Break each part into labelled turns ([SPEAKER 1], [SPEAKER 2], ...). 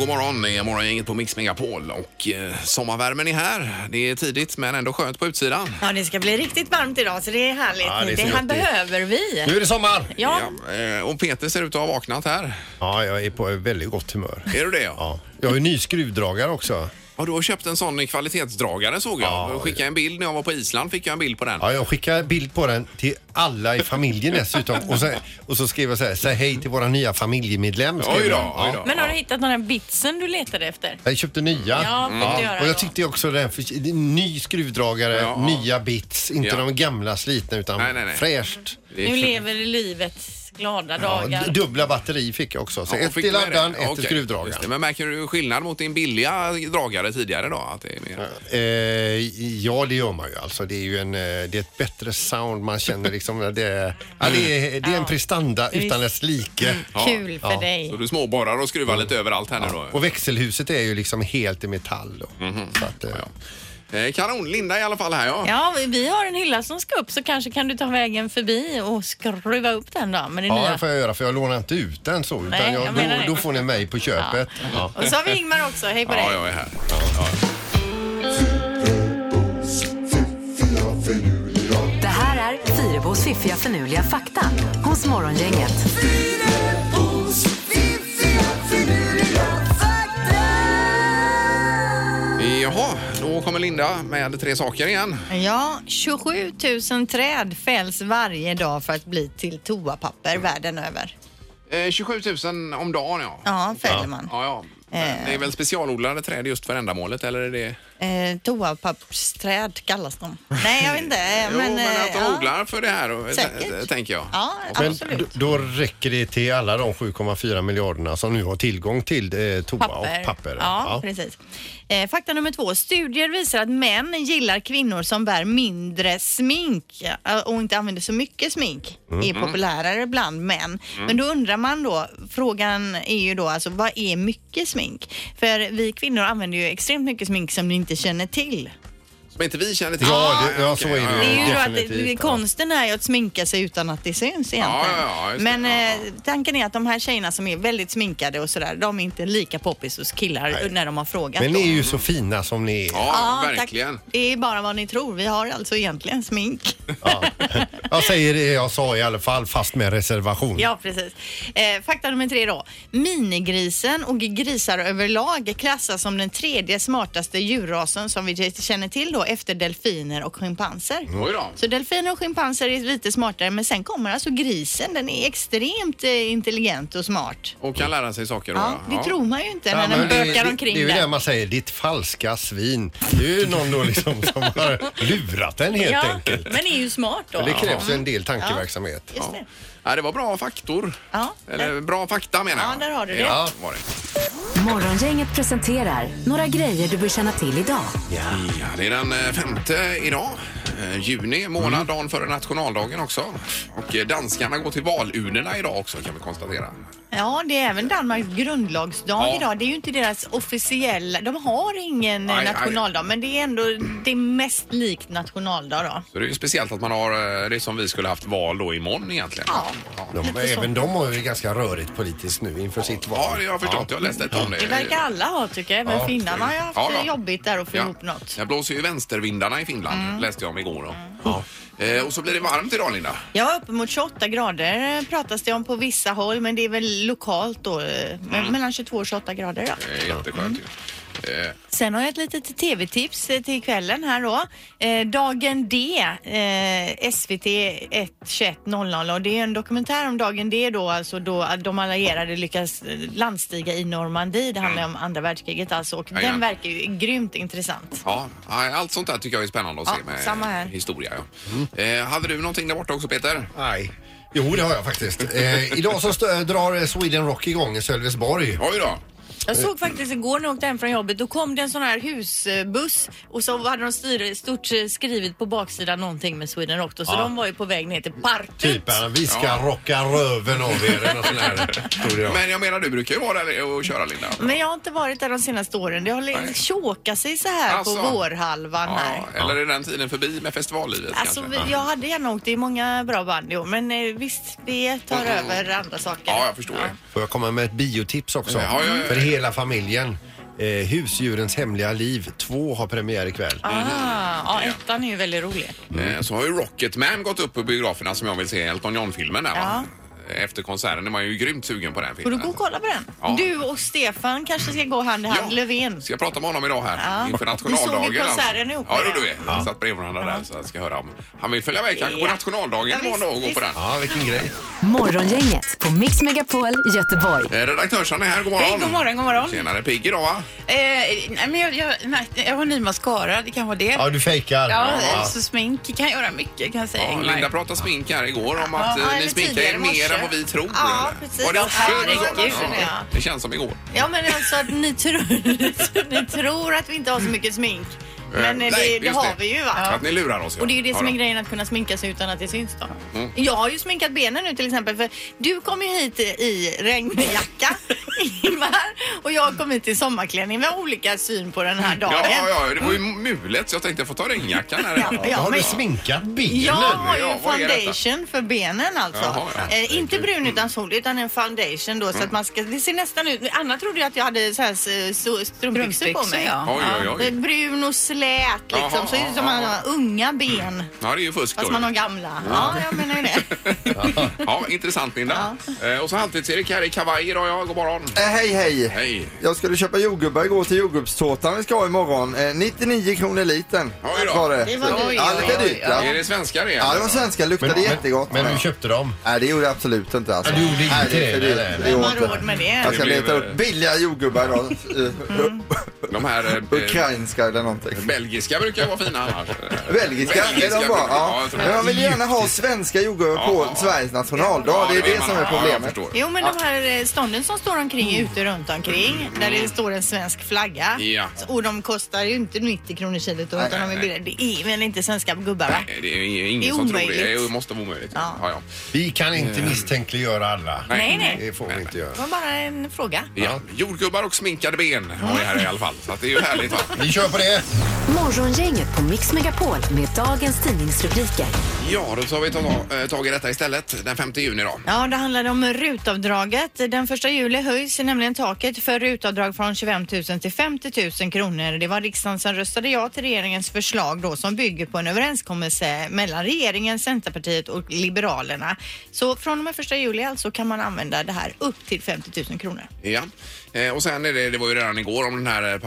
[SPEAKER 1] Eh, morgon, det är morgongänget på Mix Megapol och eh, sommarvärmen är här. Det är tidigt men ändå skönt på utsidan.
[SPEAKER 2] Ja, det ska bli riktigt varmt idag så det är härligt.
[SPEAKER 3] Ja, det
[SPEAKER 2] det
[SPEAKER 3] ser
[SPEAKER 2] här
[SPEAKER 3] gott ut.
[SPEAKER 2] behöver vi.
[SPEAKER 3] Nu är det sommar!
[SPEAKER 2] Ja,
[SPEAKER 1] Ja, eh, och Peter ser ut att ha vaknat här.
[SPEAKER 3] Ja, jag är på väldigt gott humör.
[SPEAKER 1] Är du det?
[SPEAKER 3] Ja. Jag har ju ny skruvdragare också.
[SPEAKER 1] Och du har köpt en sån kvalitetsdragare såg jag.
[SPEAKER 3] Ja,
[SPEAKER 1] jag skickade en bild när jag var på Island fick jag en bild på den.
[SPEAKER 3] Ja, jag skickade bild på den till alla i familjen dessutom. Och, sen, och så skrev jag så här, säg hej till våra nya familjemedlem. skrev
[SPEAKER 1] Oj då,
[SPEAKER 3] jag.
[SPEAKER 1] oj då.
[SPEAKER 2] men har du hittat den här bitsen du letade efter?
[SPEAKER 3] Jag köpte nya.
[SPEAKER 2] Ja, fick du göra
[SPEAKER 3] och
[SPEAKER 2] då.
[SPEAKER 3] jag tyckte också den, för, det är ny skruvdragare,
[SPEAKER 1] Ja.
[SPEAKER 3] nya bits. Inte
[SPEAKER 1] Ja.
[SPEAKER 3] de gamla slitna utan
[SPEAKER 1] Nej, nej, nej.
[SPEAKER 3] fräscht.
[SPEAKER 1] Det är
[SPEAKER 2] Nu
[SPEAKER 1] för-
[SPEAKER 2] lever livets glada
[SPEAKER 3] Ja,
[SPEAKER 2] dagar.
[SPEAKER 3] d- dubbla batteri fick jag också. Så
[SPEAKER 1] Ja, fick
[SPEAKER 3] ett till
[SPEAKER 1] du med
[SPEAKER 3] laddaren,
[SPEAKER 1] det?
[SPEAKER 3] ett till
[SPEAKER 1] Okej, just det.
[SPEAKER 3] skruvdragaren.
[SPEAKER 1] Men märker du skillnad mot din billiga dragare tidigare då? Att det är mer...
[SPEAKER 3] Eh, ja, det gör man ju. Alltså, det är ju en, eh, det är ett bättre sound. Man känner liksom att det är, ja, det är, det är en prestanda utan dess like.
[SPEAKER 2] Mm. Kul för
[SPEAKER 3] Ja.
[SPEAKER 2] dig.
[SPEAKER 1] Så du småborrar och skruvar lite överallt här nu då?
[SPEAKER 3] Och växelhuset är ju liksom helt i metall. Då. Så att, eh,
[SPEAKER 1] Eh, Kanon, Linda i alla fall här ja.
[SPEAKER 2] Ja, vi har en hylla som ska upp så kanske kan du ta vägen förbi och skruva upp den då med det
[SPEAKER 3] ja,
[SPEAKER 2] nya.
[SPEAKER 3] det får jag göra för jag lånar inte ut den så. Utan
[SPEAKER 2] Nej, jag
[SPEAKER 3] jag,
[SPEAKER 2] menar
[SPEAKER 3] då,
[SPEAKER 2] det.
[SPEAKER 3] då får ni mig på köpet. Ja.
[SPEAKER 2] Och så har vi Ingmar också, hej på
[SPEAKER 1] Ja,
[SPEAKER 2] dig.
[SPEAKER 1] jag är här.
[SPEAKER 4] Det här är Fyrabos fiffiga förnuliga fakta hos Morgongänget.
[SPEAKER 1] Jaha, då kommer Linda med tre saker igen.
[SPEAKER 2] Ja, 27 000 träd fälls varje dag för att bli till toapapper världen över.
[SPEAKER 1] Eh, 27 000 om dagen ja.
[SPEAKER 2] Ja, fäller man.
[SPEAKER 1] Ja, ja.
[SPEAKER 2] Eh.
[SPEAKER 1] Det är väl specialodlade träd just för ändamålet eller är det?
[SPEAKER 2] Eh, toapappersträd kallas de. Nej, jag vet inte. eh,
[SPEAKER 1] jo, men
[SPEAKER 2] eh,
[SPEAKER 1] att de
[SPEAKER 2] ja.
[SPEAKER 1] odlar för det här och,
[SPEAKER 2] Säkert.
[SPEAKER 1] t- tänker jag.
[SPEAKER 2] Ja,
[SPEAKER 3] Men
[SPEAKER 2] absolut.
[SPEAKER 3] d- då räcker det till alla de 7,4 miljarderna som nu har tillgång till eh, toa
[SPEAKER 2] papper.
[SPEAKER 3] och papper.
[SPEAKER 2] Ja,
[SPEAKER 3] Ja.
[SPEAKER 2] precis. Eh, fakta nummer två. Studier visar att män gillar kvinnor som bär mindre smink eh, och inte använder så mycket smink. är populärare bland män. Men då undrar man då, frågan är ju då alltså vad är mycket smink? För vi kvinnor använder ju extremt mycket smink som ni inte känner till.
[SPEAKER 1] Som inte vi känner till. Ah,
[SPEAKER 3] Ja, det, ja, så är det
[SPEAKER 1] Okej, ja,
[SPEAKER 2] Det
[SPEAKER 3] ju.
[SPEAKER 2] är ju då att
[SPEAKER 3] definitivt,
[SPEAKER 2] det,
[SPEAKER 3] ja.
[SPEAKER 2] konsten är ju att sminka sig utan att det syns egentligen.
[SPEAKER 1] Ja, ja, just det.
[SPEAKER 2] Men
[SPEAKER 1] Ja,
[SPEAKER 2] eh, tanken är att de här tjejerna som är väldigt sminkade och sådär, de är inte lika poppis hos killar när de har frågat.
[SPEAKER 3] Men
[SPEAKER 2] dem.
[SPEAKER 3] ni är ju så fina som ni är.
[SPEAKER 1] Ja,
[SPEAKER 2] tack.
[SPEAKER 1] verkligen.
[SPEAKER 2] Det är bara vad ni tror. Vi har alltså egentligen smink.
[SPEAKER 3] Jag säger det jag sa i alla fall fast med reservation.
[SPEAKER 2] Ja, precis. Eh, fakta nummer tre då. Minigrisen och grisar överlag klassas som den tredje smartaste djurrasen som vi känner till då efter delfiner och schimpanser.
[SPEAKER 1] Oj då.
[SPEAKER 2] Så delfiner och schimpanser är lite smartare men sen kommer alltså grisen. Den är extremt eh, intelligent och smart.
[SPEAKER 1] Och kan lära sig saker då.
[SPEAKER 2] Ja, det tror man ju inte när
[SPEAKER 3] men
[SPEAKER 2] den
[SPEAKER 3] det-
[SPEAKER 2] bökar
[SPEAKER 3] det,
[SPEAKER 2] omkring
[SPEAKER 3] Det är ju
[SPEAKER 2] där.
[SPEAKER 3] det man säger, ditt falska svin. Det är ju någon då liksom som har lurat den helt
[SPEAKER 2] ja,
[SPEAKER 3] enkelt.
[SPEAKER 2] men är ju smart då.
[SPEAKER 3] Men det krävs ju en del tankeverksamhet.
[SPEAKER 2] Just det.
[SPEAKER 1] Ja, det var bra faktor.
[SPEAKER 2] Ja.
[SPEAKER 1] Eller bra fakta menar jag.
[SPEAKER 2] Ja, där har du det.
[SPEAKER 1] Ja, var det.
[SPEAKER 4] Morgongänget presenterar några grejer du bör känna till idag.
[SPEAKER 1] Ja, det är den eh, femte idag. eh, Juni månad, dagen före nationaldagen också. Och eh, danskarna går till valurnorna idag också kan vi konstatera.
[SPEAKER 2] Ja, det är även Danmarks grundlagsdag
[SPEAKER 1] Ja.
[SPEAKER 2] idag. Det är ju inte deras officiella... De har ingen eh,
[SPEAKER 1] Nej, nej.
[SPEAKER 2] nationaldag, men det är ändå det är mest likt nationaldag då.
[SPEAKER 1] Så det är ju speciellt att man har eh, det som vi skulle haft val då imorgon egentligen.
[SPEAKER 2] Ja.
[SPEAKER 3] De, även de har ju ganska rörigt politiskt nu inför sitt val.
[SPEAKER 1] Ja, det har jag förstått. Jag läste ett om det.
[SPEAKER 2] Det verkar alla ha tycker jag. Även
[SPEAKER 3] Ja.
[SPEAKER 2] finnarna har ju haft
[SPEAKER 1] Ja,
[SPEAKER 2] det
[SPEAKER 1] ja.
[SPEAKER 2] jobbigt där att få
[SPEAKER 1] Ja.
[SPEAKER 2] ihop något. Mm.
[SPEAKER 1] Jag blåser ju vänstervindarna i Finland, läste jag om igår. Då. Eh, och så blir det varmt idag, Linda.
[SPEAKER 2] Ja, uppemot 28 grader eh, pratas det om på vissa håll, men det är väl lokalt då. eh, men-
[SPEAKER 1] Mm.
[SPEAKER 2] Mellan 22 och 28 grader då.
[SPEAKER 1] Det är jätteskönt ju. Eh,
[SPEAKER 2] Sen har jag ett litet tv-tips eh, till kvällen här då. Eh, Dagen D, eh, SVT 1 21 00 och det är en dokumentär om Dagen D då, alltså då att de allierade lyckas eh, landstiga i Normandie. Det handlar om andra världskriget alltså och
[SPEAKER 1] Mm. Ja, ja.
[SPEAKER 2] den verkar ju grymt intressant.
[SPEAKER 1] Ja, nej, allt sånt där tycker jag är spännande att
[SPEAKER 2] Ja,
[SPEAKER 1] se med
[SPEAKER 2] samma här.
[SPEAKER 1] historia. Ja. Eh, hade du någonting där borta också Peter?
[SPEAKER 3] Nej. Jo, det har jag faktiskt. Eh, idag så stö- drar Sweden Rock igång i Sölvesborg.
[SPEAKER 1] Oj då!
[SPEAKER 2] Jag såg faktiskt igår när jag åkte hem från jobbet, då kom det en sån här husbuss och så hade de styr, stort eh, skrivet på baksidan någonting med Sweden Rock då, så de var ju på väg ner till partiet.
[SPEAKER 3] Typ, eh, vi ska
[SPEAKER 1] Ja.
[SPEAKER 3] rocka röven av er eller något sånt här. tror jag.
[SPEAKER 1] Men jag menar, du brukar ju vara där och köra Linda.
[SPEAKER 2] Men jag har inte varit där de senaste åren. Det har
[SPEAKER 1] Nej.
[SPEAKER 2] tjåkat sig så här
[SPEAKER 1] Alltså.
[SPEAKER 2] på vårhalvan här.
[SPEAKER 1] Ja, eller är den tiden förbi med festivallivet
[SPEAKER 2] Alltså,
[SPEAKER 1] kanske?
[SPEAKER 2] vi, jag hade gärna åkt. Det är många bra band i år, men eh, visst, vi tar över andra saker.
[SPEAKER 1] Ja, jag förstår det.
[SPEAKER 3] Får jag komma med ett biotips också?
[SPEAKER 1] Ja, ja, ja, ja.
[SPEAKER 3] För he- Hela familjen. Eh, husdjurens hemliga liv 2 har premiär ikväll.
[SPEAKER 1] Mm.
[SPEAKER 2] Ah, ja, ettan är ju väldigt rolig.
[SPEAKER 1] Eh, Så har ju Rocketman gått upp på biograferna som jag vill se, Elton John-filmen där va? Efter konserten är man ju grymt sugen på den
[SPEAKER 2] Får du
[SPEAKER 1] filmen.
[SPEAKER 2] gå och kolla på den?
[SPEAKER 1] Ja.
[SPEAKER 2] Du och Stefan kanske ska gå hand i hand, Löfven.
[SPEAKER 1] Ska jag prata med honom idag här
[SPEAKER 2] Ja.
[SPEAKER 1] inför
[SPEAKER 2] Vi såg ju
[SPEAKER 1] nationaldagen?
[SPEAKER 2] konserten ihop,
[SPEAKER 1] Ja, det
[SPEAKER 2] ja.
[SPEAKER 1] gjorde vi. Vi satt bredvid varandra där så jag ska höra om han vill följa med kanske på
[SPEAKER 2] Ja.
[SPEAKER 1] nationaldagen
[SPEAKER 2] Ja,
[SPEAKER 1] imorgon
[SPEAKER 2] visst,
[SPEAKER 1] och gå på
[SPEAKER 2] visst.
[SPEAKER 1] den.
[SPEAKER 3] Ja, vilken grej.
[SPEAKER 4] Morgongänget på Mix Megapol Göteborg.
[SPEAKER 1] Eh, Redaktörsson är här, god morgon.
[SPEAKER 5] Hej, god morgon, god morgon.
[SPEAKER 1] Tjenare, pigg idag va?
[SPEAKER 5] Eh, nej, men jag, jag, märkte- jag har ny mascara, det kan vara det.
[SPEAKER 3] Ja, du fejkar.
[SPEAKER 5] Ja,
[SPEAKER 2] eh,
[SPEAKER 5] så smink kan göra mycket kan jag säga.
[SPEAKER 1] Ja,
[SPEAKER 5] Ingmar.
[SPEAKER 1] Linda pratade smink här igår om
[SPEAKER 2] Ja,
[SPEAKER 1] att eh,
[SPEAKER 2] eller
[SPEAKER 1] ni sminkar
[SPEAKER 2] tidigare
[SPEAKER 1] er
[SPEAKER 2] i morse.
[SPEAKER 1] mer än vad vi tror.
[SPEAKER 2] Ja,
[SPEAKER 1] eller?
[SPEAKER 2] precis.
[SPEAKER 1] Var det
[SPEAKER 2] Ja,
[SPEAKER 1] också?
[SPEAKER 2] det var
[SPEAKER 1] igår?
[SPEAKER 2] igår,
[SPEAKER 1] Ja,
[SPEAKER 2] ja.
[SPEAKER 1] Det känns som igår.
[SPEAKER 2] Ja, men alltså att ni tror, ni tror att vi inte har så mycket smink. Men eh,
[SPEAKER 1] Eh,
[SPEAKER 2] det,
[SPEAKER 1] nej,
[SPEAKER 2] det
[SPEAKER 1] just
[SPEAKER 2] har vi ju va?
[SPEAKER 1] Att ni lurar oss. ja.
[SPEAKER 2] Och det är ju det
[SPEAKER 1] Ja,
[SPEAKER 2] som är
[SPEAKER 1] då.
[SPEAKER 2] grejen att kunna sminka sig utan att det syns då.
[SPEAKER 1] Mm.
[SPEAKER 2] Jag har ju sminkat benen nu till exempel för du kom ju hit eh, i regnjacka Ingmar och jag kom hit i sommarklänning. Vi har olika syn på den här dagen.
[SPEAKER 1] Ja, ja, ja, det var ju mulet så jag tänkte jag får ta regnjackan här.
[SPEAKER 2] Mm. Ja,
[SPEAKER 3] Ja,
[SPEAKER 2] ja.
[SPEAKER 3] har
[SPEAKER 2] men-
[SPEAKER 3] du sminkat benen?
[SPEAKER 2] Jag har ju
[SPEAKER 1] Ja,
[SPEAKER 2] en
[SPEAKER 1] vad är detta?
[SPEAKER 2] foundation för benen alltså.
[SPEAKER 1] Jaha, ja. Mm.
[SPEAKER 2] eh, inte brun utan solig utan en foundation då så att man ska, det ser nästan ut, Anna trodde ju att jag hade så här s- så, strumpbyxor på
[SPEAKER 5] Strumpbyxor,
[SPEAKER 2] mig.
[SPEAKER 5] ja.
[SPEAKER 1] Oj, oj,
[SPEAKER 2] Det är
[SPEAKER 1] oj.
[SPEAKER 2] Brun och slät liksom,
[SPEAKER 1] Jaha,
[SPEAKER 2] så det är som
[SPEAKER 1] ja,
[SPEAKER 2] man har unga ben.
[SPEAKER 1] Ja, det är ju fusk
[SPEAKER 2] Fast
[SPEAKER 1] då.
[SPEAKER 2] man har gamla. Ja, jag menar ju det.
[SPEAKER 1] Ja, intressant Linda. Eh, och så Halvtids-Erik här i kavaj idag. Ja, god morgon.
[SPEAKER 6] Eh, Hej hej!
[SPEAKER 1] Hej.
[SPEAKER 6] Jag skulle köpa jordgubbar igår till jordgubbstårtan vi ska ha imorgon. Eh, 99 kronor litern
[SPEAKER 1] Oj då.
[SPEAKER 6] var det.
[SPEAKER 2] Det var
[SPEAKER 6] Så-
[SPEAKER 2] dyrt.
[SPEAKER 6] Ja,
[SPEAKER 2] Oj,
[SPEAKER 6] lite
[SPEAKER 2] oj,
[SPEAKER 6] dyrt ja.
[SPEAKER 1] Är det svenskar igen?
[SPEAKER 6] Ja, det var svenska. Luktade jättegott.
[SPEAKER 3] Men du köpte dem?
[SPEAKER 6] Nej, det gjorde jag absolut inte alltså.
[SPEAKER 3] Ja, du gjorde inte
[SPEAKER 6] Nej, det. är för
[SPEAKER 3] det,
[SPEAKER 6] dyrt.
[SPEAKER 3] nej, nej.
[SPEAKER 6] Det
[SPEAKER 2] Vem
[SPEAKER 6] gjorde
[SPEAKER 2] har
[SPEAKER 6] jag inte.
[SPEAKER 2] råd med det?
[SPEAKER 6] Jag ska
[SPEAKER 1] Det blev,
[SPEAKER 6] leta
[SPEAKER 1] eh,
[SPEAKER 6] upp billiga jordgubbar idag. Eh,
[SPEAKER 1] De här eh,
[SPEAKER 6] Ukrainska eller någonting.
[SPEAKER 1] belgiska brukar ju vara fina annars. Eh,
[SPEAKER 6] Belgiska är de bra.
[SPEAKER 1] brukar-
[SPEAKER 6] Ja.
[SPEAKER 1] jag tror
[SPEAKER 6] Men
[SPEAKER 1] det.
[SPEAKER 6] man vill gärna ha svenska jordgubbar
[SPEAKER 1] Ja,
[SPEAKER 6] på
[SPEAKER 1] ja, ja.
[SPEAKER 6] Sveriges nationaldag. Det är
[SPEAKER 1] vill
[SPEAKER 6] det
[SPEAKER 1] man
[SPEAKER 6] som
[SPEAKER 1] ha. Ja,
[SPEAKER 6] är
[SPEAKER 1] Mm. jag
[SPEAKER 6] problemet.
[SPEAKER 1] förstår.
[SPEAKER 2] Jo men de här eh, stånden som står omkring ute runt omkring där det står en svensk flagga
[SPEAKER 1] Ja.
[SPEAKER 2] och de kostar ju inte 90 kronor kilot utan
[SPEAKER 6] Nej,
[SPEAKER 2] de är
[SPEAKER 1] nej,
[SPEAKER 2] billigare. Det är väl inte svenska gubbar va?
[SPEAKER 1] Nej, Det är ingen
[SPEAKER 2] Det är
[SPEAKER 1] som tror det.
[SPEAKER 2] omöjligt.
[SPEAKER 1] Det måste vara omöjligt.
[SPEAKER 2] Ja.
[SPEAKER 1] Ja, ja.
[SPEAKER 3] Vi kan inte misstänkliggöra alla.
[SPEAKER 2] Nej, nej.
[SPEAKER 3] Det får vi inte göra.
[SPEAKER 2] Det var bara en fråga.
[SPEAKER 1] Ja. Jordgubbar och sminkade ben har vi här i alla fall. Så att det är ju härligt va?
[SPEAKER 3] Vi kör på det.
[SPEAKER 4] Morgongänget på Mix Megapol med dagens tidningsrubriker.
[SPEAKER 1] Ja, då tar vi ta- eh, tag i detta istället den 5 juni då.
[SPEAKER 2] Ja, det handlar om rutavdraget. Den första juli höjs nämligen taket för rutavdrag från 25 000 till 50 000 kronor. Det var riksdagen som röstade ja till regeringens förslag då som bygger på en överenskommelse mellan regeringen, Centerpartiet och Liberalerna. Så från och med första juli alltså kan man använda det här upp till 50 000 kronor.
[SPEAKER 1] Ja. Eh, Och sen är det, det var ju redan igår om den här eh,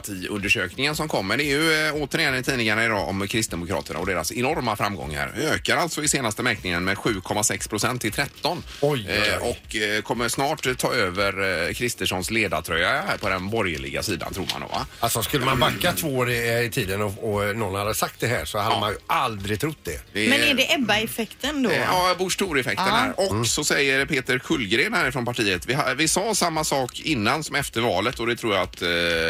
[SPEAKER 1] partisympatiundersökningen som kommer. Det är ju eh, återigen i tidningarna idag om Kristdemokraterna och deras enorma framgångar. Ökar alltså i senaste mätningen med 7,6 procent till 13.
[SPEAKER 3] Oj, oj, oj.
[SPEAKER 1] Eh, Och eh, kommer snart ta över eh, Kristerssons ledartröja här på den borgerliga sidan tror man då va?
[SPEAKER 3] Alltså skulle man backa två år i, i tiden och, och eh, någon hade sagt det här så hade man ju aldrig trott det.
[SPEAKER 1] Det
[SPEAKER 2] Men är det Ebba-effekten då?
[SPEAKER 1] Eh, Ja, Busch Thor-effekten
[SPEAKER 2] Ja. Mm.
[SPEAKER 1] här. Och så säger Peter Kullgren här från partiet. Vi, har- vi sa samma sak innan som efter valet och det tror jag att eh,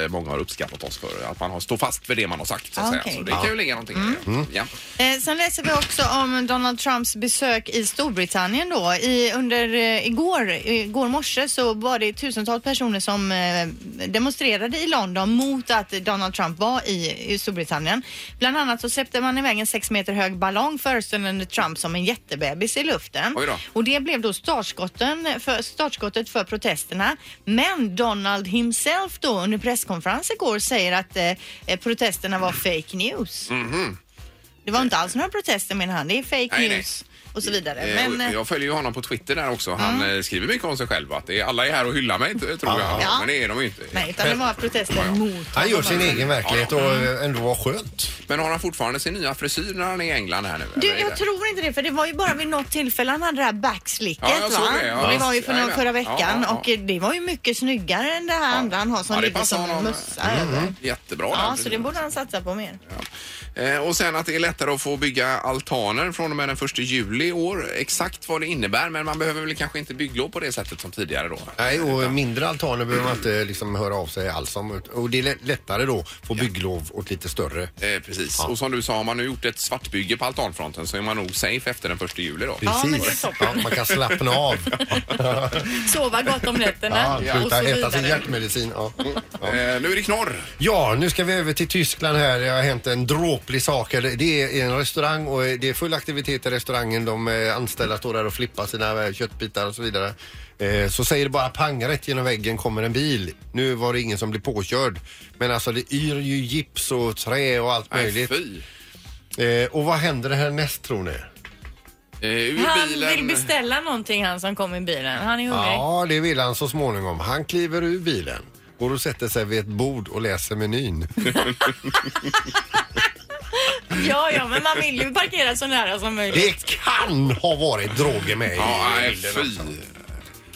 [SPEAKER 1] många har uppskattat oss för. Att man har står fast för det man har sagt. Så, att
[SPEAKER 2] Ah, Okej.
[SPEAKER 1] säga. så det kan ju ligga någonting i det. Mm. Ja.
[SPEAKER 2] Eh, sen läser vi också om Donald Trumps besök i Storbritannien då. I, under eh, igår, igår morse så var det tusentals personer som eh, demonstrerade i London mot att Donald Trump var i, i Storbritannien. Bland annat så släppte man iväg en sex meter hög ballong föreställande Trump som en jättebebis i luften.
[SPEAKER 1] Oj då.
[SPEAKER 2] Och det blev då startskotten för, startskottet för protesterna. Men Donald himself då under presskonferens igår säger att eh, eh, protesterna var fake news. Det var inte alls några protester menar han. Det är fake
[SPEAKER 1] Nej, nej.
[SPEAKER 2] news och så vidare.
[SPEAKER 1] Eh, och
[SPEAKER 2] Men, eh, Mm.
[SPEAKER 1] jag följer ju honom på Twitter där också. Han eh, skriver mycket om sig själv. Att det är, alla är här och hyllar mig, t- tror jag.
[SPEAKER 2] Ja.
[SPEAKER 1] Men det är de ju inte.
[SPEAKER 2] nej, utan det var protester mot
[SPEAKER 3] Han gör
[SPEAKER 2] honom.
[SPEAKER 3] sin egen verklighet och eh, ändå var skönt.
[SPEAKER 1] Men har han fortfarande sin nya frisyr när han är i England här nu?
[SPEAKER 2] Du,
[SPEAKER 1] eller är det-
[SPEAKER 2] jag tror inte det, för det var ju bara vid något tillfälle han hade det här backslicket.
[SPEAKER 1] Ja, jag såg
[SPEAKER 2] va?
[SPEAKER 1] det, ja.
[SPEAKER 2] Och det var ju för någon,
[SPEAKER 1] Jajamän.
[SPEAKER 2] förra veckan
[SPEAKER 1] Ja, ja,
[SPEAKER 2] och eh, det var ju mycket snyggare än det här andra han har som
[SPEAKER 1] Ja, det
[SPEAKER 2] ligger
[SPEAKER 1] passar
[SPEAKER 2] som en
[SPEAKER 1] honom. Mm.
[SPEAKER 2] mössa över.
[SPEAKER 1] Jättebra. den
[SPEAKER 2] Ja, så
[SPEAKER 1] frisyren.
[SPEAKER 2] det borde han satsa på mer.
[SPEAKER 1] Eh, Och sen att det är lättare att få bygga altaner från och med den 1 juli i år. Exakt vad det innebär, men man behöver väl kanske inte bygglov på det sättet som tidigare då.
[SPEAKER 3] Nej, och mindre altaner behöver man inte liksom höra av sig alls om. Och det är lä- lättare då att få bygglov åt lite större.
[SPEAKER 1] Eh, precis. Och som du sa, har man nu gjort ett svartbygge på altanfronten så är man nog safe efter den 1 juli då.
[SPEAKER 2] Ja, men det är
[SPEAKER 3] Precis.
[SPEAKER 2] toppen.
[SPEAKER 3] man kan slappna av.
[SPEAKER 2] Sova gott om nätterna
[SPEAKER 3] Ja,
[SPEAKER 2] och
[SPEAKER 3] sluta
[SPEAKER 2] så
[SPEAKER 3] äta sin
[SPEAKER 2] vidare.
[SPEAKER 3] hjärtmedicin. Ja. Ja.
[SPEAKER 1] Eh, nu är det knorr.
[SPEAKER 3] Ja, nu ska vi över till Tyskland här. Det har hänt en dråp olämplig sak. Eller, det är en restaurang och eh, det är full aktivitet i restaurangen. De eh, anställda står där och flippar sina eh, köttbitar och så vidare. Eh, Så säger det bara pang, rätt genom väggen kommer en bil. Nu var det ingen som blev påkörd. Men alltså det yr ju gips och trä och allt
[SPEAKER 1] Nej,
[SPEAKER 3] möjligt.
[SPEAKER 1] fy.
[SPEAKER 3] Eh, Och vad händer härnäst tror ni?
[SPEAKER 1] Eh, ur
[SPEAKER 2] Han
[SPEAKER 1] bilen.
[SPEAKER 2] vill beställa någonting han som kom i bilen. Han är hungrig.
[SPEAKER 3] Ja, det vill han så småningom. Han kliver ur bilen, går och sätter sig vid ett bord och läser menyn.
[SPEAKER 2] Ja, ja, men man vill ju parkera så nära som möjligt.
[SPEAKER 3] Det kan ha varit droger med i
[SPEAKER 1] Ja, nej,
[SPEAKER 3] bilden
[SPEAKER 1] fy.
[SPEAKER 3] också.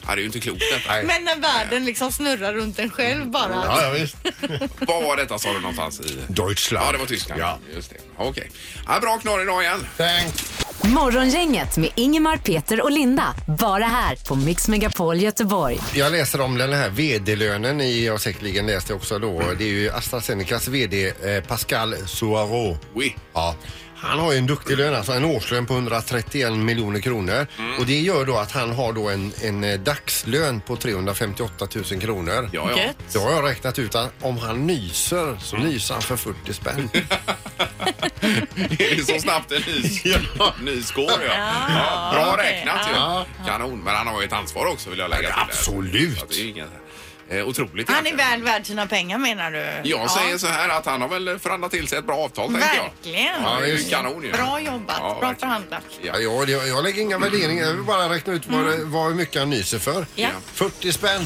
[SPEAKER 1] Ja, det är ju inte klokt detta.
[SPEAKER 3] Nej.
[SPEAKER 2] Men när världen liksom snurrar runt en själv bara.
[SPEAKER 3] Ja, ja, visst.
[SPEAKER 1] Vad var detta sa du någonstans i?
[SPEAKER 3] Deutschland.
[SPEAKER 1] Ja, det var Tyskland.
[SPEAKER 3] Ja.
[SPEAKER 1] Just det. Okej. Ja, bra knorr idag igen.
[SPEAKER 3] Thanks.
[SPEAKER 4] Morgongänget med Ingemar, Peter och Linda. Bara här på Mix Megapol Göteborg.
[SPEAKER 3] Jag läser om den här vd-lönen i, jag har säkerligen läst det också då. Det är ju AstraZenecas vd eh, Pascal Soaro.
[SPEAKER 1] Oui.
[SPEAKER 3] Ja. Han har ju en duktig lön, alltså en årslön på 131 miljoner kronor.
[SPEAKER 1] Mm.
[SPEAKER 3] Och det gör då att han har då en, en eh, dagslön på 358 000 kronor.
[SPEAKER 1] Ja, ja.
[SPEAKER 2] Gött.
[SPEAKER 3] Då har jag räknat ut att om han nyser så nyser han för 40 spänn.
[SPEAKER 1] Det är så snabbt en nys, nys går. Ja. Ja, bra
[SPEAKER 2] okej.
[SPEAKER 1] räknat ju. Kanon. Men han har ju ett ansvar också vill jag lägga till. där.
[SPEAKER 3] Absolut.
[SPEAKER 1] Så att Det är ju inget, eh, otroligt
[SPEAKER 2] Han är
[SPEAKER 1] egentligen.
[SPEAKER 2] väl värd sina pengar menar du?
[SPEAKER 1] Jag säger så här att han har väl förhandlat till sig ett bra avtal tänker jag.
[SPEAKER 2] Verkligen.
[SPEAKER 1] Ja, det är ju
[SPEAKER 3] visst.
[SPEAKER 1] kanon ju.
[SPEAKER 2] Bra jobbat.
[SPEAKER 1] Ja,
[SPEAKER 2] Bra
[SPEAKER 1] verkligen.
[SPEAKER 2] förhandlat.
[SPEAKER 1] Ja.
[SPEAKER 3] Ja, jag, jag, jag lägger inga värderingar, jag vill bara räkna ut vad, det- vad hur mycket han nyser för.
[SPEAKER 2] Ja.
[SPEAKER 3] 40 spänn.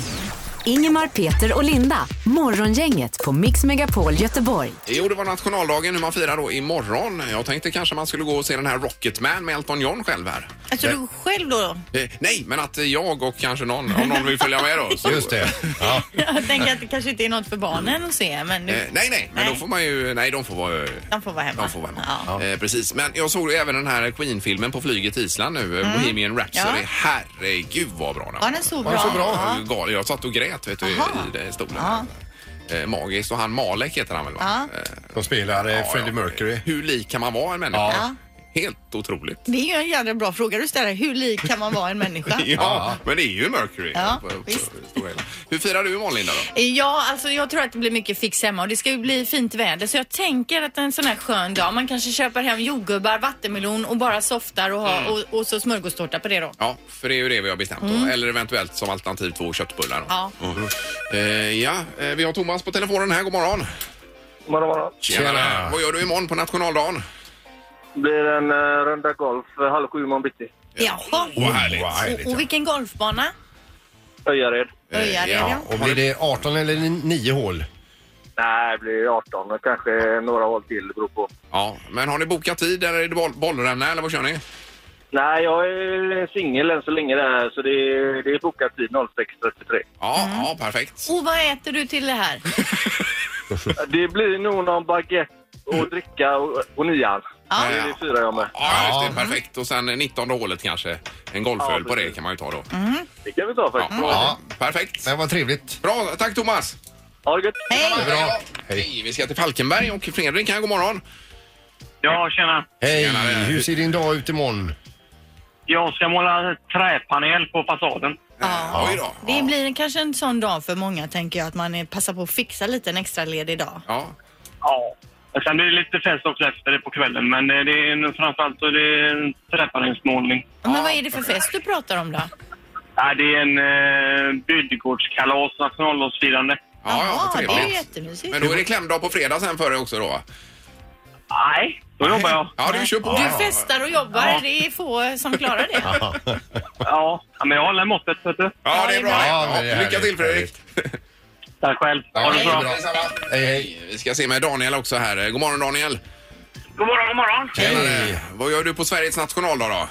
[SPEAKER 4] Ingemar, Peter och Linda. Morgongänget på Mix Megapol Göteborg.
[SPEAKER 1] Jo, det var nationaldagen hur man firar då imorgon. Jag tänkte kanske man skulle gå och se den här Rocketman med Elton John själv här.
[SPEAKER 2] Alltså du själv då?
[SPEAKER 1] Eh, nej, men att jag och kanske någon, om någon vill följa med då. så-
[SPEAKER 3] Just det. Ja.
[SPEAKER 2] Jag tänker att det kanske inte är något för barnen att se, men
[SPEAKER 1] Eh,
[SPEAKER 2] nu,
[SPEAKER 1] nej, nej, men
[SPEAKER 2] Nej.
[SPEAKER 1] då får man ju... Nej, de får vara...
[SPEAKER 2] de får vara hemma.
[SPEAKER 1] De får vara hemma.
[SPEAKER 2] Ja.
[SPEAKER 1] Eh, precis. Men jag såg ju även den här Queen-filmen på flyget till Island nu, eh, Bohemian Rhapsody.
[SPEAKER 2] Mm. Ja.
[SPEAKER 1] Herregud vad bra den
[SPEAKER 2] Var den så bra?
[SPEAKER 3] den så bra?
[SPEAKER 1] Ja. Gal- Jag satt och grät vet du, i i den stolen. Eh, magiskt. Och han Malek heter han väl? Va?
[SPEAKER 2] Ja.
[SPEAKER 1] Eh,
[SPEAKER 3] De spelar eh,
[SPEAKER 1] ja,
[SPEAKER 3] Freddie
[SPEAKER 1] ja.
[SPEAKER 3] Mercury.
[SPEAKER 1] Hur lik kan man vara en människa?
[SPEAKER 3] Ja.
[SPEAKER 1] Helt otroligt.
[SPEAKER 2] Det är ju en jävla bra fråga du ställer. Hur lik kan man vara en människa?
[SPEAKER 1] Ja, men det är ju Mercury.
[SPEAKER 2] Ja,
[SPEAKER 1] på- på-
[SPEAKER 2] visst.
[SPEAKER 1] stora hela. Hur firar du imorgon Linda då?
[SPEAKER 2] Ja, alltså jag tror att det blir mycket fix hemma och det ska ju bli fint väder så jag tänker att en sån här skön dag, man kanske köper hem jordgubbar, vattenmelon och bara softar och,
[SPEAKER 1] Mm.
[SPEAKER 2] ha, och, och så smörgåstårta på det då.
[SPEAKER 1] Ja, för det är ju det vi har bestämt. då. Eller eventuellt som alternativ två köttbullar. då.
[SPEAKER 2] Mm. Ja.
[SPEAKER 1] Mm. Eh, ja, eh, vi har Thomas på telefonen här. God morgon.
[SPEAKER 7] Morgon, morgon.
[SPEAKER 1] Tjena. Vad gör du imorgon på nationaldagen?
[SPEAKER 7] Blir en uh, runda golf eh, halv sju imorgon bitti.
[SPEAKER 2] Jaha.
[SPEAKER 1] Vad härligt.
[SPEAKER 3] Vad härligt,
[SPEAKER 2] Och, och
[SPEAKER 3] ja.
[SPEAKER 2] vilken golfbana?
[SPEAKER 7] Öjared.
[SPEAKER 2] Öjared,
[SPEAKER 1] Eh, ja.
[SPEAKER 2] ja.
[SPEAKER 3] Och blir det 18 eller 9 hål?
[SPEAKER 7] Nej, det blir 18 och kanske några hål till, det beror på.
[SPEAKER 1] Ja, men har ni bokat tid eller är det boll bollränna eller vad kör ni?
[SPEAKER 7] Nej, jag är singel än så länge där, så det är, det är bokat tid 06.33.
[SPEAKER 1] Ja,
[SPEAKER 2] Mm.
[SPEAKER 1] ja perfekt.
[SPEAKER 2] Och vad äter du till det här?
[SPEAKER 7] Det blir nog någon baguette och dricka och, och nian.
[SPEAKER 2] Ja. Mm.
[SPEAKER 7] Det är det fyra jag med.
[SPEAKER 1] Ja, just det, perfekt. Och sen 19 hålet kanske. En golföl på det kan man ju ta då.
[SPEAKER 2] Mm.
[SPEAKER 7] Det kan vi ta faktiskt.
[SPEAKER 1] Ja, perfekt.
[SPEAKER 3] Men vad trevligt.
[SPEAKER 1] Bra, tack Thomas.
[SPEAKER 7] Ha det gött!
[SPEAKER 2] Hej!
[SPEAKER 1] Bra. Hej, vi ska till Falkenberg och Fredrik här, god morgon.
[SPEAKER 8] Ja, tjena.
[SPEAKER 3] Hej,
[SPEAKER 1] Tjenare.
[SPEAKER 3] hur ser din dag ut imorgon?
[SPEAKER 8] Jag ska måla träpanel på fasaden.
[SPEAKER 2] Ja.
[SPEAKER 1] Oj då.
[SPEAKER 2] Det blir kanske en sån dag för många tänker jag att man eh, passar på att fixa lite en extra ledig dag.
[SPEAKER 1] Ja,
[SPEAKER 8] Ja. Och Sen blir det lite fest också efter det på kvällen, men eh, det är framförallt så är det en träpanelsmålning.
[SPEAKER 2] Men vad är det för fest du pratar om då?
[SPEAKER 8] Ja, det är en eh, bygdegårdskalas, nationaldagsfirande.
[SPEAKER 1] ja, ja vad
[SPEAKER 2] det är ju
[SPEAKER 1] trevligt.
[SPEAKER 2] jättemysigt.
[SPEAKER 1] Men då är det klämdag på fredag sen för dig också då? va?
[SPEAKER 8] Nej, då jobbar jag.
[SPEAKER 1] Ja, du kör på.
[SPEAKER 2] Du festar och jobbar, det är få som klarar det.
[SPEAKER 8] Ja, Ja, men jag håller måttet, vet du.
[SPEAKER 1] Ja, det är bra.
[SPEAKER 3] Ja, men det är
[SPEAKER 1] lycka till
[SPEAKER 3] härligt,
[SPEAKER 1] Fredrik.
[SPEAKER 8] Tack själv. Ha det
[SPEAKER 3] det är
[SPEAKER 8] så bra.
[SPEAKER 3] bra. Hej, hej.
[SPEAKER 1] Vi ska se med Daniel också här. God morgon Daniel.
[SPEAKER 8] God morgon, god morgon.
[SPEAKER 3] Hej.
[SPEAKER 1] Eh, Vad gör du på Sveriges nationaldag då?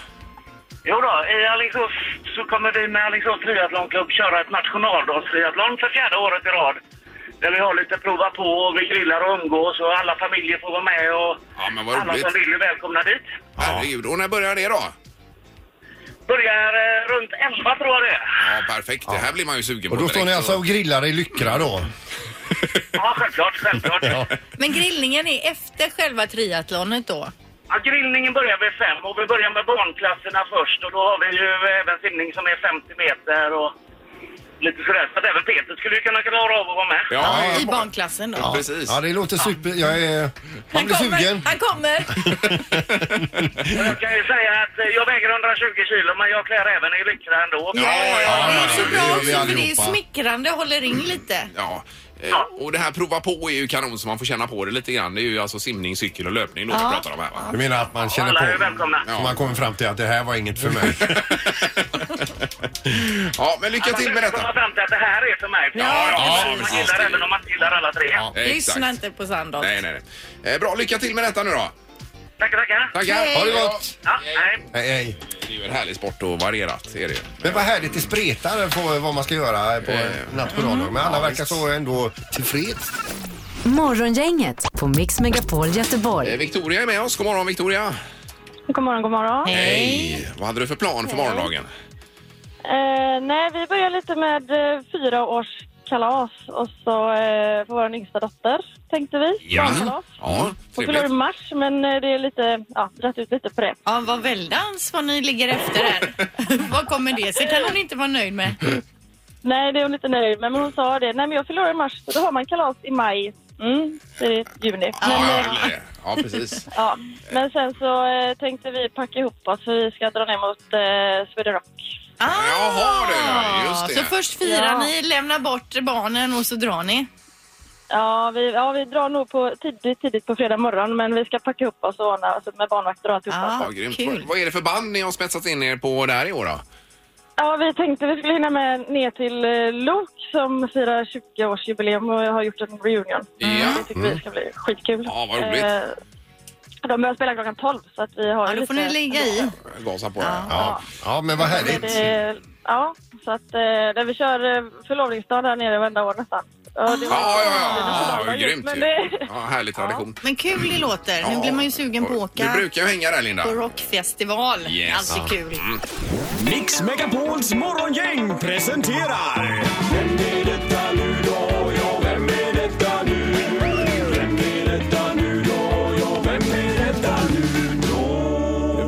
[SPEAKER 8] Jo då, i Alingsås så kommer vi med Alingsås triathlonklubb köra ett nationaldags-triathlon för fjärde året i rad. Där vi har lite prova på och vi grillar och umgås och alla familjer får vara med och
[SPEAKER 1] Ja, men vad
[SPEAKER 8] alla
[SPEAKER 1] roligt.
[SPEAKER 8] som vill är välkomna dit.
[SPEAKER 1] Herregud. Och när börjar det då?
[SPEAKER 8] Börjar eh, runt 11 tror jag det är.
[SPEAKER 1] Ja, perfekt. Det här blir man ju sugen
[SPEAKER 3] Och
[SPEAKER 1] på
[SPEAKER 3] då står ni
[SPEAKER 1] direkt,
[SPEAKER 3] alltså
[SPEAKER 1] så-
[SPEAKER 3] och grillar i Lyckra då?
[SPEAKER 8] Ja, självklart, självklart. ja.
[SPEAKER 2] Men grillningen är efter själva triathlonet då?
[SPEAKER 8] grillningen börjar vid fem och vi eh, börjar med barnklasserna först och då har vi ju även simning som är 50 meter och lite sådär. Så att även Peter skulle ju kunna klara av att vara med.
[SPEAKER 1] Ja,
[SPEAKER 2] I barnklassen då.
[SPEAKER 1] precis.
[SPEAKER 3] Ja, det låter super... Jag är... Man
[SPEAKER 2] Han
[SPEAKER 3] blir
[SPEAKER 2] kommer,
[SPEAKER 3] sugen.
[SPEAKER 2] han kommer.
[SPEAKER 8] Och jag kan ju säga att eh, jag väger 120 kilo men jag klär även i lyckra ändå.
[SPEAKER 1] ja,
[SPEAKER 2] Det
[SPEAKER 1] ja,
[SPEAKER 2] är
[SPEAKER 1] ja, det
[SPEAKER 2] så
[SPEAKER 1] gör
[SPEAKER 2] bra
[SPEAKER 1] vi
[SPEAKER 2] också för det är
[SPEAKER 3] allihopa.
[SPEAKER 2] smickrande och håller in lite.
[SPEAKER 1] Ja. Eh, Och det här prova på är ju kanon så man får känna på det lite grann. Det är ju alltså simning, cykel och löpning då vi pratar om här va?
[SPEAKER 3] Du menar att man känner
[SPEAKER 8] Alla är ju
[SPEAKER 3] på...
[SPEAKER 8] välkomna.
[SPEAKER 3] Så man kommer fram till att det här var inget för mig.
[SPEAKER 1] Ja, men lycka
[SPEAKER 8] Man
[SPEAKER 1] till med
[SPEAKER 8] behöver komma
[SPEAKER 1] detta.
[SPEAKER 8] fram till att det här är för mig.
[SPEAKER 1] ja, ja,
[SPEAKER 8] man
[SPEAKER 1] precis.
[SPEAKER 8] gillar även om man inte gillar alla tre.
[SPEAKER 2] Lyssna inte på Sandholt.
[SPEAKER 1] Nej, nej, nej. Eh, Bra, lycka till med detta nu då.
[SPEAKER 8] Tackar, tackar.
[SPEAKER 1] Tackar.
[SPEAKER 2] Hej.
[SPEAKER 1] Ha det gott.
[SPEAKER 8] Ja, hej.
[SPEAKER 3] Nej, nej.
[SPEAKER 1] Det är ju en härlig sport och varierat är det ju.
[SPEAKER 3] Men vad härligt det spretar på vad man ska göra på nationaldagen. Men alla verkar så ändå tillfreds.
[SPEAKER 4] Morgongänget på Mix Megapol
[SPEAKER 1] Eh,
[SPEAKER 4] Göteborg.
[SPEAKER 1] Victoria är med oss. God morgon Victoria.
[SPEAKER 9] God morgon, god morgon.
[SPEAKER 1] Hej. Vad hade du för plan för morgondagen?
[SPEAKER 9] Eh, nej, vi börjar lite med eh, fyra års kalas och så eh, för vår yngsta dotter, tänkte vi. Barnkalas.
[SPEAKER 1] Ja,
[SPEAKER 9] Hon fyller i
[SPEAKER 1] trevligt.
[SPEAKER 9] mars, men eh, det är lite, ja, dragit ut lite på det.
[SPEAKER 2] Ja, vad väldans vad ni ligger efter här. vad kommer det sig? kan hon inte vara nöjd med.
[SPEAKER 9] Nej, det är hon lite nöjd med, men hon sa det. Nej, men jag fyller år i mars, så då har man kalas i maj. Mm, det är juni. Men,
[SPEAKER 1] Ja,
[SPEAKER 9] eh,
[SPEAKER 1] ja, ja. ja, precis.
[SPEAKER 9] ja. men sen så eh, tänkte vi packa ihop oss, för vi ska dra ner mot eh, Sweden Rock.
[SPEAKER 2] Ah,
[SPEAKER 1] Jaha, du, just det.
[SPEAKER 2] Så först firar
[SPEAKER 9] Ja.
[SPEAKER 2] ni, lämnar bort barnen och så drar ni.
[SPEAKER 9] Ja vi, ja, vi drar nog på tidigt, tidigt på fredag morgon, men vi ska packa ihop oss och ordna alltså, med barnvakter och alltihopa.
[SPEAKER 2] Ah.
[SPEAKER 1] Ja, grymt.
[SPEAKER 2] Kul.
[SPEAKER 1] Vad- Vad är det för band ni har spetsat in er på där i år då?
[SPEAKER 9] Ja, vi tänkte vi skulle hinna med ner till eh, Lok som firar 20-årsjubileum och har gjort en reunion. Mm.
[SPEAKER 1] Ja. Mm.
[SPEAKER 9] Det tycker vi ska bli skitkul.
[SPEAKER 1] Ja, vad roligt.
[SPEAKER 9] Eh, de börjar spela klockan 12 så att vi har
[SPEAKER 2] Ja, då får ni ligga i.
[SPEAKER 1] Gasa på det.
[SPEAKER 3] Ja, ja men vad
[SPEAKER 9] Men
[SPEAKER 3] härligt.
[SPEAKER 9] det- Ja, så att eh, där vi kör eh, förlovningsdag där nere varenda år nästan. Ja, det var-
[SPEAKER 1] Ja, ja, ja.
[SPEAKER 9] det
[SPEAKER 1] ja
[SPEAKER 9] var
[SPEAKER 1] grymt
[SPEAKER 9] Men
[SPEAKER 1] ju.
[SPEAKER 9] det,
[SPEAKER 1] Ja, härlig tradition.
[SPEAKER 2] Men kul det låter. Nu blir man ju sugen på att
[SPEAKER 1] Du
[SPEAKER 2] åka
[SPEAKER 1] brukar ju hänga där, Linda.
[SPEAKER 2] på rockfestival.
[SPEAKER 1] Yes. Mm.
[SPEAKER 2] Alltid kul.
[SPEAKER 10] Mix Megapols morgongäng presenterar...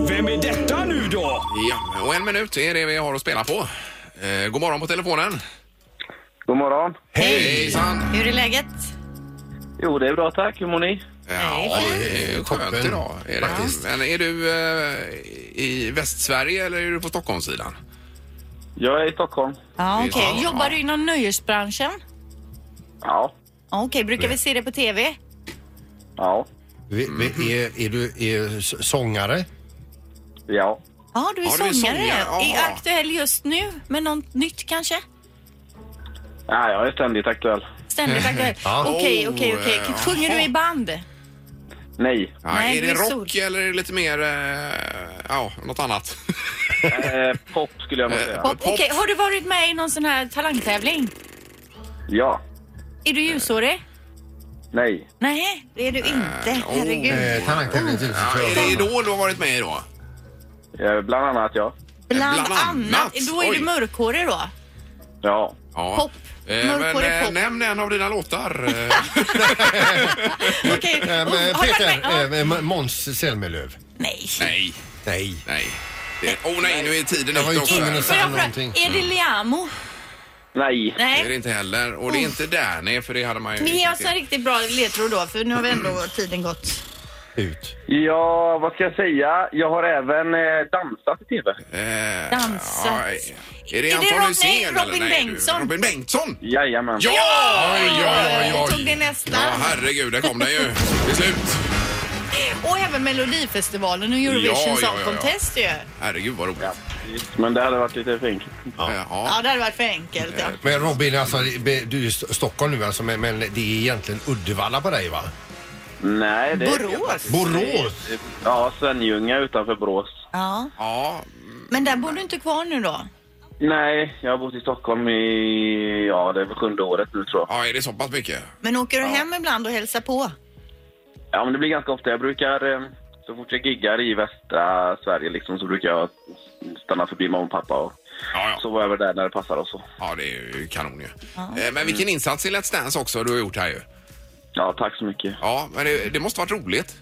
[SPEAKER 10] Vem är detta nu då?
[SPEAKER 1] Ja, och en minut är det vi har att spela på. Eh, god morgon på telefonen.
[SPEAKER 7] God morgon.
[SPEAKER 1] Hej! Hejsan!
[SPEAKER 2] Hur är läget?
[SPEAKER 7] Jo, det är bra tack. Hur mår ni?
[SPEAKER 1] Ja, det är skönt
[SPEAKER 3] Toppen.
[SPEAKER 1] idag. Är det. Men är du eh, i Västsverige eller är du på Stockholmssidan?
[SPEAKER 7] Jag är i Stockholm.
[SPEAKER 2] Ja,
[SPEAKER 1] Det är
[SPEAKER 2] okej.
[SPEAKER 1] så, ja.
[SPEAKER 2] Jobbar du inom nöjesbranschen?
[SPEAKER 7] Ja.
[SPEAKER 2] Ja, Okej, brukar vi se det på TV?
[SPEAKER 7] Ja.
[SPEAKER 3] Vi, vi, är, är du är s- sångare?
[SPEAKER 7] Ja.
[SPEAKER 2] Ja, du är
[SPEAKER 1] Ja, du är
[SPEAKER 2] sångare.
[SPEAKER 1] sångare.
[SPEAKER 2] Är
[SPEAKER 1] Jaha.
[SPEAKER 2] aktuell just nu med något nytt kanske?
[SPEAKER 7] ja jag är ständigt aktuell.
[SPEAKER 2] Ständigt aktuell.
[SPEAKER 3] Ja.
[SPEAKER 2] Okej, okej, okej.
[SPEAKER 1] Oh, eh,
[SPEAKER 2] Sjunger du i band?
[SPEAKER 7] Nej.
[SPEAKER 1] Ja,
[SPEAKER 2] Nej,
[SPEAKER 1] är
[SPEAKER 2] du
[SPEAKER 1] det
[SPEAKER 2] är
[SPEAKER 1] rock
[SPEAKER 2] sol.
[SPEAKER 1] eller är det lite mer, eh, ja, något annat?
[SPEAKER 7] Eh, pop skulle jag nog säga.
[SPEAKER 2] Pop. Okej, har du varit med i någon sån här talangtävling?
[SPEAKER 7] Ja.
[SPEAKER 2] Är du ljushårig?
[SPEAKER 7] Nej.
[SPEAKER 2] Nej, det är du inte.
[SPEAKER 1] oh.
[SPEAKER 2] Herregud.
[SPEAKER 3] Eh, Talangtävling till
[SPEAKER 1] Ja, är det Idol du har varit med i då?
[SPEAKER 7] Eh, bland annat ja.
[SPEAKER 2] Bland,
[SPEAKER 1] bland
[SPEAKER 2] annat.
[SPEAKER 1] annat.
[SPEAKER 2] Då är
[SPEAKER 1] Oj.
[SPEAKER 2] du mörkhårig då?
[SPEAKER 7] Ja.
[SPEAKER 1] Ja.
[SPEAKER 2] Pop.
[SPEAKER 1] Eh, Men
[SPEAKER 2] Mörkhårig
[SPEAKER 1] eh,
[SPEAKER 2] pop.
[SPEAKER 1] nämn en av dina låtar. eh. Äh,
[SPEAKER 2] Okej. Oh,
[SPEAKER 3] Eh, men
[SPEAKER 2] Har du varit
[SPEAKER 3] Peter,
[SPEAKER 2] med? Ja.
[SPEAKER 3] eh, M- Måns Zelmerlöw.
[SPEAKER 2] Nej.
[SPEAKER 1] Nej,
[SPEAKER 3] Nej.
[SPEAKER 1] nej. Det- Åh oh, nej, nu är tiden
[SPEAKER 3] Jag var ju
[SPEAKER 1] ute också. här.
[SPEAKER 3] tvungen
[SPEAKER 1] Mm.
[SPEAKER 3] att
[SPEAKER 2] Får
[SPEAKER 3] säga
[SPEAKER 2] jag fråga,
[SPEAKER 3] någonting.
[SPEAKER 2] är det Liamo?
[SPEAKER 7] Nej.
[SPEAKER 1] Det är det
[SPEAKER 2] Nej.
[SPEAKER 1] inte heller. Och det är inte där, nej, för det hade man ju...
[SPEAKER 2] Men ge oss en riktigt bra ledtråd då, för nu har vi ändå tiden gått.
[SPEAKER 3] Ut.
[SPEAKER 7] Ja, vad ska jag säga? Jag har även eh, dansat i TV.
[SPEAKER 1] Eh,
[SPEAKER 2] Dansat.
[SPEAKER 1] ja, Är det
[SPEAKER 2] det
[SPEAKER 1] Anton
[SPEAKER 2] Rob-
[SPEAKER 1] Hysén?
[SPEAKER 2] nej,
[SPEAKER 1] eller?
[SPEAKER 2] Robin
[SPEAKER 1] Nej, du-
[SPEAKER 2] Bengtsson.
[SPEAKER 1] Robin Bengtsson!
[SPEAKER 7] Jajamän.
[SPEAKER 1] Ja! Oj, oj, oj,
[SPEAKER 2] Tog det
[SPEAKER 1] oj.
[SPEAKER 2] nästa.
[SPEAKER 1] Ja, herregud, där kom den ju till slut.
[SPEAKER 2] Och även Melodifestivalen och Eurovision
[SPEAKER 1] Ja, ja,
[SPEAKER 2] Song
[SPEAKER 1] ja, ja.
[SPEAKER 2] Contest ju.
[SPEAKER 1] Herregud, vad roligt.
[SPEAKER 7] Ja, precis. Men det hade varit lite fint.
[SPEAKER 1] Ja. Ja.
[SPEAKER 2] Ja, det hade varit för enkelt. Ja.
[SPEAKER 3] Men Robin, alltså, det- du är i St- Stockholm nu alltså, men, men det är egentligen Uddevalla på dig va?
[SPEAKER 7] Nej, det
[SPEAKER 2] Borås?
[SPEAKER 3] Borås?
[SPEAKER 7] Ja, Svenljunga utanför Borås.
[SPEAKER 2] Ja.
[SPEAKER 1] ja.
[SPEAKER 2] Men där bor du inte kvar nu då?
[SPEAKER 7] Nej, jag har bott i Stockholm i... Ja, det är väl sjunde året nu tror jag.
[SPEAKER 1] Ja, är det så pass mycket?
[SPEAKER 2] Men åker du hem ibland och hälsar på?
[SPEAKER 7] Ja, men det blir ganska ofta. Jag brukar... eh, Så fort jag giggar i västra Sverige liksom, så brukar jag stanna förbi mamma och pappa och
[SPEAKER 1] Ja, ja.
[SPEAKER 7] sova över där när det passar och så.
[SPEAKER 1] ja det är ju kanon ju. Eh, Men vilken insats i Let's Dance också du har gjort här ju.
[SPEAKER 7] Ja, tack så mycket.
[SPEAKER 1] Ja, men det, det måste varit roligt.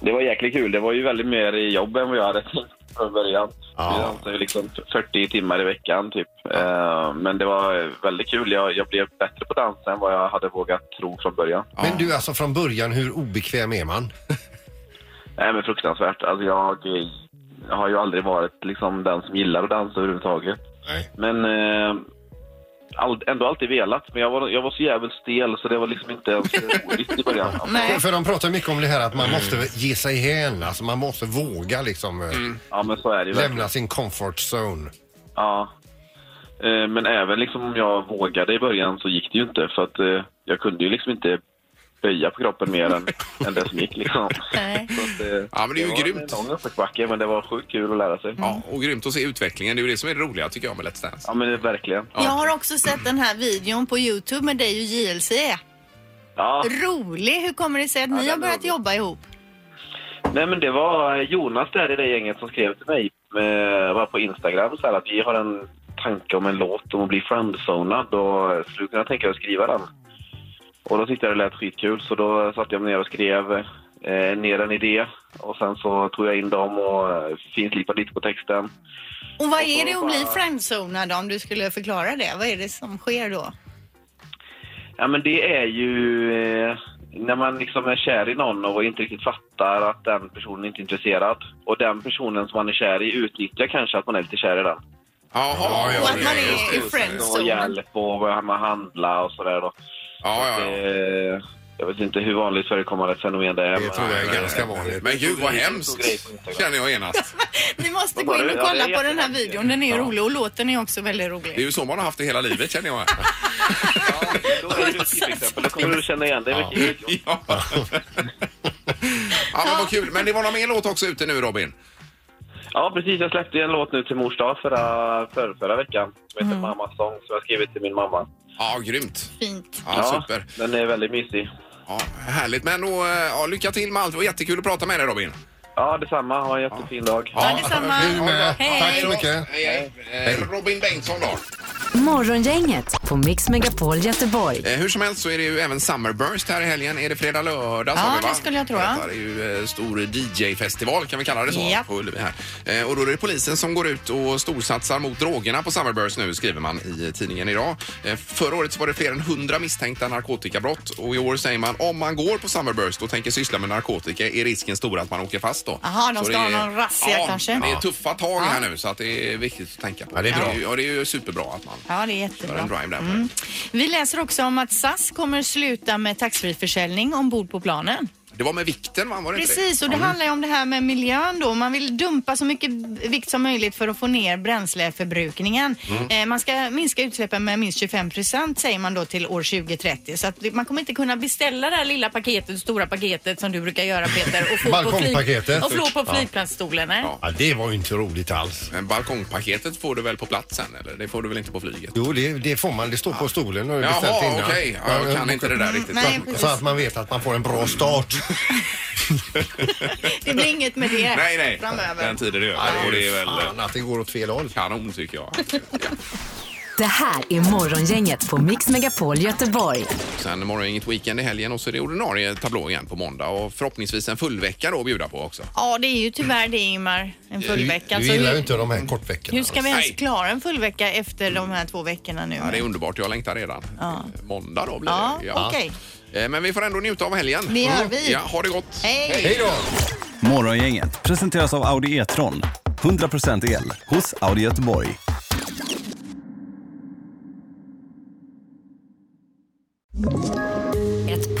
[SPEAKER 7] Det var jäkligt kul. Det var ju väldigt mer i jobb än vad jag hade tänkt från början. Vi dansade ju liksom 40 timmar i veckan typ. Eh, Men det var väldigt kul. Jag, jag blev bättre på dans än vad jag hade vågat tro från början.
[SPEAKER 3] Men du, alltså från början, hur obekväm är man?
[SPEAKER 7] Nej men fruktansvärt. Alltså jag eh, har ju aldrig varit liksom den som gillar att dansa överhuvudtaget. Men eh, all, ändå alltid velat. Men jag var, jag var så jävligt stel så det var liksom inte ens roligt i början.
[SPEAKER 3] För, för de pratar mycket om det här att man måste ge sig hän, alltså man måste våga liksom eh,
[SPEAKER 1] Mm.
[SPEAKER 7] Ja men så är det ju verkligen.
[SPEAKER 3] lämna sin comfort zone.
[SPEAKER 7] Ja. Eh, Men även liksom om jag vågade i början så gick det ju inte för att eh, jag kunde ju liksom inte böja på kroppen mer än, än det som gick liksom. Så att, eh,
[SPEAKER 1] Ja, men det är ju
[SPEAKER 7] var
[SPEAKER 1] grymt.
[SPEAKER 7] en lång uppförsbacke men det var sjukt kul att lära sig.
[SPEAKER 2] Mm.
[SPEAKER 1] Ja, och grymt att se utvecklingen. Det är ju det som är det roliga tycker jag med Let's Dance.
[SPEAKER 7] Ja men det, verkligen.
[SPEAKER 2] Jag har också sett den här videon på Youtube med dig och JLC.
[SPEAKER 7] Ja.
[SPEAKER 2] Rolig! Hur kommer det sig att ni har börjat jobba ihop?
[SPEAKER 7] Nej men det var Jonas där i det gänget som skrev till mig eh, bara på Instagram så här, att vi har en tanke om en låt om att bli friendzonad och skulle du kunna tänka dig att skriva den? Och då tyckte jag det lät skitkul så då satte jag mig ner och skrev eh, ner en idé och sen så tog jag in dem och eh, finslipade lite på texten.
[SPEAKER 2] Och vad är det att bli friendzonad om du skulle förklara det? Vad är det som sker då?
[SPEAKER 7] Ja, men det är ju eh, när man liksom är kär i någon och inte riktigt fattar att den personen inte är intresserad. Och den personen som man är kär i utnyttjar kanske att man är lite kär i den.
[SPEAKER 1] Jaha,
[SPEAKER 2] Och att man är i
[SPEAKER 7] Och
[SPEAKER 2] friendzonad.
[SPEAKER 7] hjälp och vad man handlar och sådär då.
[SPEAKER 1] Ja, ja, ja.
[SPEAKER 7] Eh, jag vet inte hur vanligt förekommande fenomen det är.
[SPEAKER 3] Det tror jag är ganska vanligt.
[SPEAKER 1] Men gud vad
[SPEAKER 7] Det är en
[SPEAKER 1] hemskt,
[SPEAKER 7] stor grej på Instagram.
[SPEAKER 1] känner jag genast.
[SPEAKER 2] Ni måste
[SPEAKER 7] Vad
[SPEAKER 2] gå
[SPEAKER 7] var
[SPEAKER 2] in
[SPEAKER 7] det?
[SPEAKER 2] och
[SPEAKER 7] Ja, det är
[SPEAKER 2] kolla på den här
[SPEAKER 7] jättehemskt.
[SPEAKER 2] videon. Den är rolig och låten är också väldigt
[SPEAKER 1] Det är
[SPEAKER 2] rolig.
[SPEAKER 1] ju så man har haft det hela livet känner jag.
[SPEAKER 7] Då är det ett typexempel. Då kommer du känna igen dig mycket. i videon.
[SPEAKER 1] Ja. ja, men vad kul. Men det var någon mer låt också ute nu Robin?
[SPEAKER 7] Ja, precis. Jag släppte ju en låt nu till mors dag förra, förra, förra veckan som heter
[SPEAKER 2] Mm.
[SPEAKER 7] Mamma Song som jag skrivit till min mamma.
[SPEAKER 1] Ja, grymt.
[SPEAKER 2] Fint.
[SPEAKER 1] Ja, super.
[SPEAKER 7] Den är väldigt mysig.
[SPEAKER 1] Ja, härligt. Men då, eh, ja, lycka till med allt. Det var jättekul att prata med dig Robin.
[SPEAKER 7] Ja, detsamma. Ha en jättefin dag.
[SPEAKER 2] Ja, detsamma.
[SPEAKER 3] Du med.
[SPEAKER 2] Hej.
[SPEAKER 3] Tack så mycket.
[SPEAKER 1] Hej, hej. Eh, Robin Bengtsson då.
[SPEAKER 4] Morgongänget på Mix Megapol Göteborg.
[SPEAKER 1] Eh, Hur som helst så är det ju även Summerburst här i helgen. Är det fredag, lördag? sa
[SPEAKER 2] Ja,
[SPEAKER 1] vi, va?
[SPEAKER 2] det skulle jag tro, ja.
[SPEAKER 1] Detta är ju eh, stor DJ-festival kan vi kalla det så.
[SPEAKER 2] Ja.
[SPEAKER 1] På Ullevi här. Eh, Och då är det polisen som går ut och storsatsar mot drogerna på Summerburst nu skriver man i tidningen idag. Eh, Förra året så var det fler än 100 misstänkta narkotikabrott och i år säger man om man går på Summerburst och tänker syssla med narkotika är risken stor att man åker fast då.
[SPEAKER 2] Jaha, de
[SPEAKER 1] Så
[SPEAKER 2] ska
[SPEAKER 1] det är-
[SPEAKER 2] ha någon razzia
[SPEAKER 1] ja,
[SPEAKER 2] kanske?
[SPEAKER 1] det är
[SPEAKER 2] Ja.
[SPEAKER 1] tuffa tag här nu så att det är viktigt att tänka på.
[SPEAKER 3] Ja, det är bra.
[SPEAKER 1] Ja, det är ju superbra att man
[SPEAKER 2] Ja, det är
[SPEAKER 1] gör en
[SPEAKER 2] jättebra. Mm.
[SPEAKER 1] drive där.
[SPEAKER 2] Vi läser också om att SAS kommer sluta med taxfree-försäljning ombord på planen.
[SPEAKER 1] Det var med vikten va? Var det inte det?
[SPEAKER 2] Precis, och det handlar ju om det här med miljön då. Man vill dumpa så mycket vikt som möjligt för att få ner bränsleförbrukningen. Eh, man ska minska utsläppen med minst 25 procent säger man då till år 2030. Så att det- man kommer inte kunna beställa det här lilla paketet, stora paketet som du brukar göra Peter och få på,
[SPEAKER 3] Balkongpaketet.
[SPEAKER 2] flyg- och få på
[SPEAKER 3] Ja.
[SPEAKER 2] flygplatsstolen. nej?
[SPEAKER 1] Ja.
[SPEAKER 3] Ja, det var ju inte roligt alls.
[SPEAKER 1] Men balkongpaketet får du väl på platsen eller? Det får du väl inte på flyget?
[SPEAKER 3] Jo, det, det får man. Det står på stolen och är beställt
[SPEAKER 1] Jaha,
[SPEAKER 3] innan. eh,
[SPEAKER 1] okej. Ja, jag kan inte det där riktigt.
[SPEAKER 2] Nej,
[SPEAKER 1] Nej,
[SPEAKER 3] Så att man vet att man får en bra start.
[SPEAKER 2] Det blir inget med det
[SPEAKER 1] nej. nej.
[SPEAKER 2] framöver.
[SPEAKER 1] Den tiden är över. Och det är väl
[SPEAKER 3] Fan att det går åt fel håll.
[SPEAKER 1] kanon tycker jag.
[SPEAKER 4] Det här är Morgongänget på Mix Megapol Göteborg.
[SPEAKER 1] Sen morgon inget weekend i helgen och så är det ordinarie tablå igen på måndag och förhoppningsvis en full vecka då att bjuda på också.
[SPEAKER 2] Ja, det är ju tyvärr det Ingmar, en full vecka.
[SPEAKER 3] Du
[SPEAKER 2] Så
[SPEAKER 3] gillar
[SPEAKER 2] hur-
[SPEAKER 3] ju inte de här kortveckorna.
[SPEAKER 2] hur ska vi ens
[SPEAKER 1] Nej.
[SPEAKER 2] klara en full vecka efter de här två veckorna nu?
[SPEAKER 1] Ja,
[SPEAKER 3] Mm.
[SPEAKER 1] det är underbart. Jag längtar redan.
[SPEAKER 2] Ja.
[SPEAKER 1] Eh, Måndag då blir
[SPEAKER 2] Ja,
[SPEAKER 1] det.
[SPEAKER 2] okej.
[SPEAKER 1] Eh, Men vi får ändå njuta av helgen.
[SPEAKER 2] Det gör vi.
[SPEAKER 1] Ja, ha det gott.
[SPEAKER 2] Hej!
[SPEAKER 3] Hej då!
[SPEAKER 10] Morgongänget presenteras av Audi E-tron. 100% el hos Audi Göteborg.
[SPEAKER 11] Ett